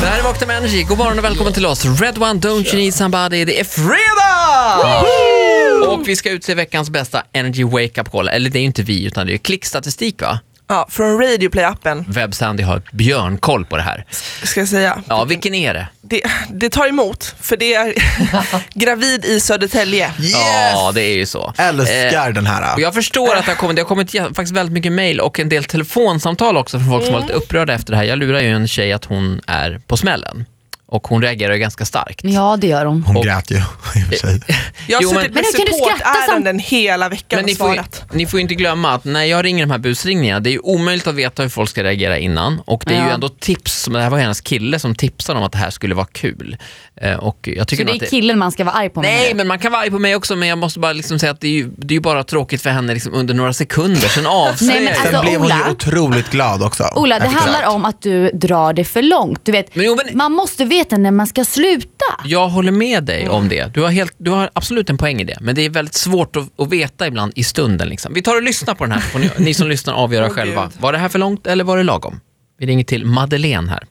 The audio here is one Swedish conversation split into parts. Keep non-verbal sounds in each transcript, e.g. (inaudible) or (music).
Det här är Vakna med Energy. God morgon och välkommen till oss. Red One, Don't You Need Somebody. Det är fredag! Och vi ska utse veckans bästa Energy Wake Up Call. Eller det är ju inte vi, utan det är klickstatistik va? Ja, från Radioplay-appen, Webb-Sandy har björnkoll på det här. ska jag säga. Ja, vilken är det? Det, det tar emot, för (laughs) det är gravid i Södertälje. Ja, det är ju så. Eh, Älskar den här. Och jag förstår att det har kommit, det har kommit jä- faktiskt väldigt mycket mejl och en del telefonsamtal också från folk som var lite upprörda efter det här. Jag lurar ju en tjej att hon är på smällen och hon reagerar ju ganska starkt. Ja, det gör hon. Hon grät ju (laughs) i och för sig. Jag har Jo, men- suttit Men med hur kan du skratta supportärenden hela veckan Men och ni får, ju, svarat. ni får ju inte glömma att när jag ringer de här busringningarna, det är ju omöjligt att veta hur folk ska reagera innan. Och det är ju Ja. ändå tips, som- det här var hennes kille som tipsade om att det här skulle vara kul. Eh, Och jag tycker Så det nog är att det, killen man ska vara arg på? menar Nej, du? men man kan vara arg på mig också, men jag måste bara liksom säga att det är ju, det är ju bara tråkigt för henne liksom under några sekunder, sen avslöjar (laughs) Nej, men jag alltså- Sen blev hon Ola- ju otroligt glad också. Ola, det efteråt. handlar om att du drar det för långt. Du vet, Men jo, men- Man måste veta när man ska sluta. Jag håller med dig Mm. om det. Du har, helt, du har absolut en poäng i det. Men det är väldigt svårt att, att veta ibland i stunden. Liksom. Vi tar och lyssnar på den här. Får ni, ni som lyssnar avgöra Åh, själva. Gud. Var det här för långt eller var det lagom? Vi ringer till Madeleine här.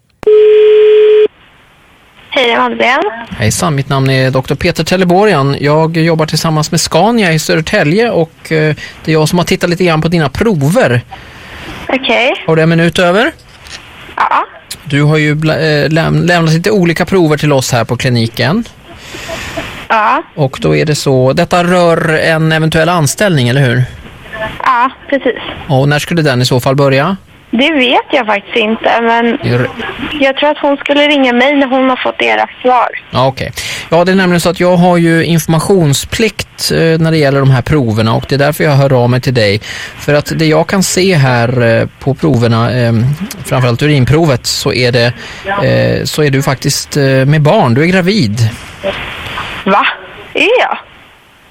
Hej, jag är Madeleine. Hejsan, mitt namn är Dr. Peter Teleborian. Jag jobbar tillsammans med Scania i Södertälje och eh, det är jag som har tittat lite grann på dina prover. Okej. Har du en minut över? Ja. Du har ju bla- eh, läm- lämnat lite olika prover till oss här på kliniken. Ja. Och då är det så, detta rör en eventuell anställning, eller hur? Ja, precis. Och när skulle den i så fall börja? Det vet jag faktiskt inte, men Gör- jag tror att hon skulle ringa mig när hon har fått era svar. Ja, okej. Ja, det är nämligen så att jag har ju informationsplikt eh, när det gäller de här proverna och det är därför jag hör av mig till dig. För att det jag kan se här eh, på proverna, eh, framförallt urinprovet, så är, det, eh, så är du faktiskt eh, med barn. Du är gravid. Va? Är jag?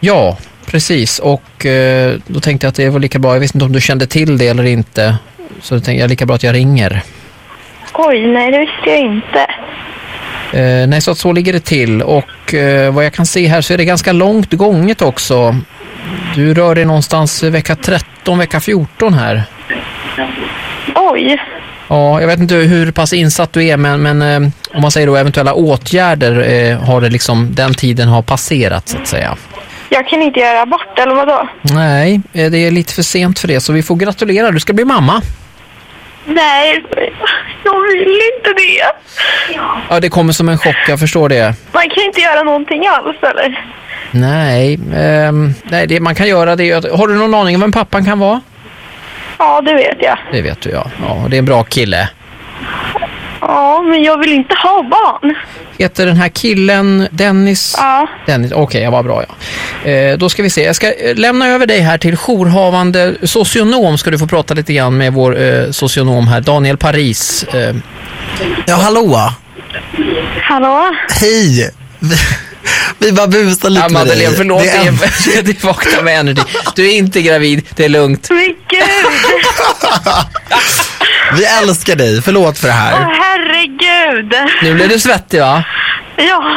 Ja, precis. Och eh, då tänkte jag att det var lika bra, jag visste inte om du kände till det eller inte, så då tänkte jag lika bra att jag ringer. Oj, nej, det visste jag inte. Eh, nej, så att så ligger det till. Och eh, vad jag kan se här så är det ganska långt gånget också. Du rör dig någonstans i vecka 13, vecka 14 här. Oj. Ja, jag vet inte hur pass insatt du är, men, men eh, om man säger då eventuella åtgärder, eh, har det liksom, den tiden har passerat så att säga. Jag kan inte göra abort, eller vadå? Nej, eh, det är lite för sent för det, så vi får gratulera. Du ska bli mamma. Nej, jag vill inte det. Ja, det kommer som en chock, jag förstår det. Man kan inte göra någonting alls, eller? Nej, ehm, nej det man kan göra det är ju att, Har du någon aning om vem pappan kan vara? Ja, det vet jag. Det vet du ja. Ja, och det är en bra kille. Ja, men jag vill inte ha barn. Heter den här killen Dennis? Ja. Dennis, okej, jag var bra ja. Eh, då ska vi se, jag ska eh, lämna över dig här till jourhavande socionom ska du få prata lite grann med vår eh, socionom här, Daniel Paris. Eh, Ja, hallå! Hallå? Hej! Vi, vi bara busar lite ah, Madeleine, med dig. förlåt, det är en- är, (laughs) det är Vakna med Energy. Du är inte gravid, det är lugnt. Men gud! Vi älskar dig, förlåt för det Åh, här. herregud! Nu blev du svettig va? Ja.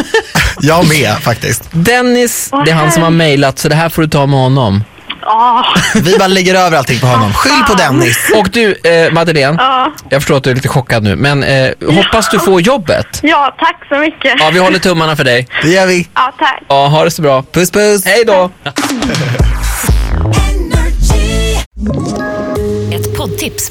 (laughs) Jag med faktiskt. Dennis, det är han som har mejlat så det här får du ta med honom. Ja. Vi bara lägger över allting på honom. Skyll på Dennis. Och du, eh, Madeleine, Ja. jag förstår att du är lite chockad nu, men eh, hoppas du får jobbet. ja, tack så mycket. Ja, vi håller tummarna för dig. Det gör vi. Ja, tack. Ja, ha det så bra. Puss puss. Hej då! Ett poddtips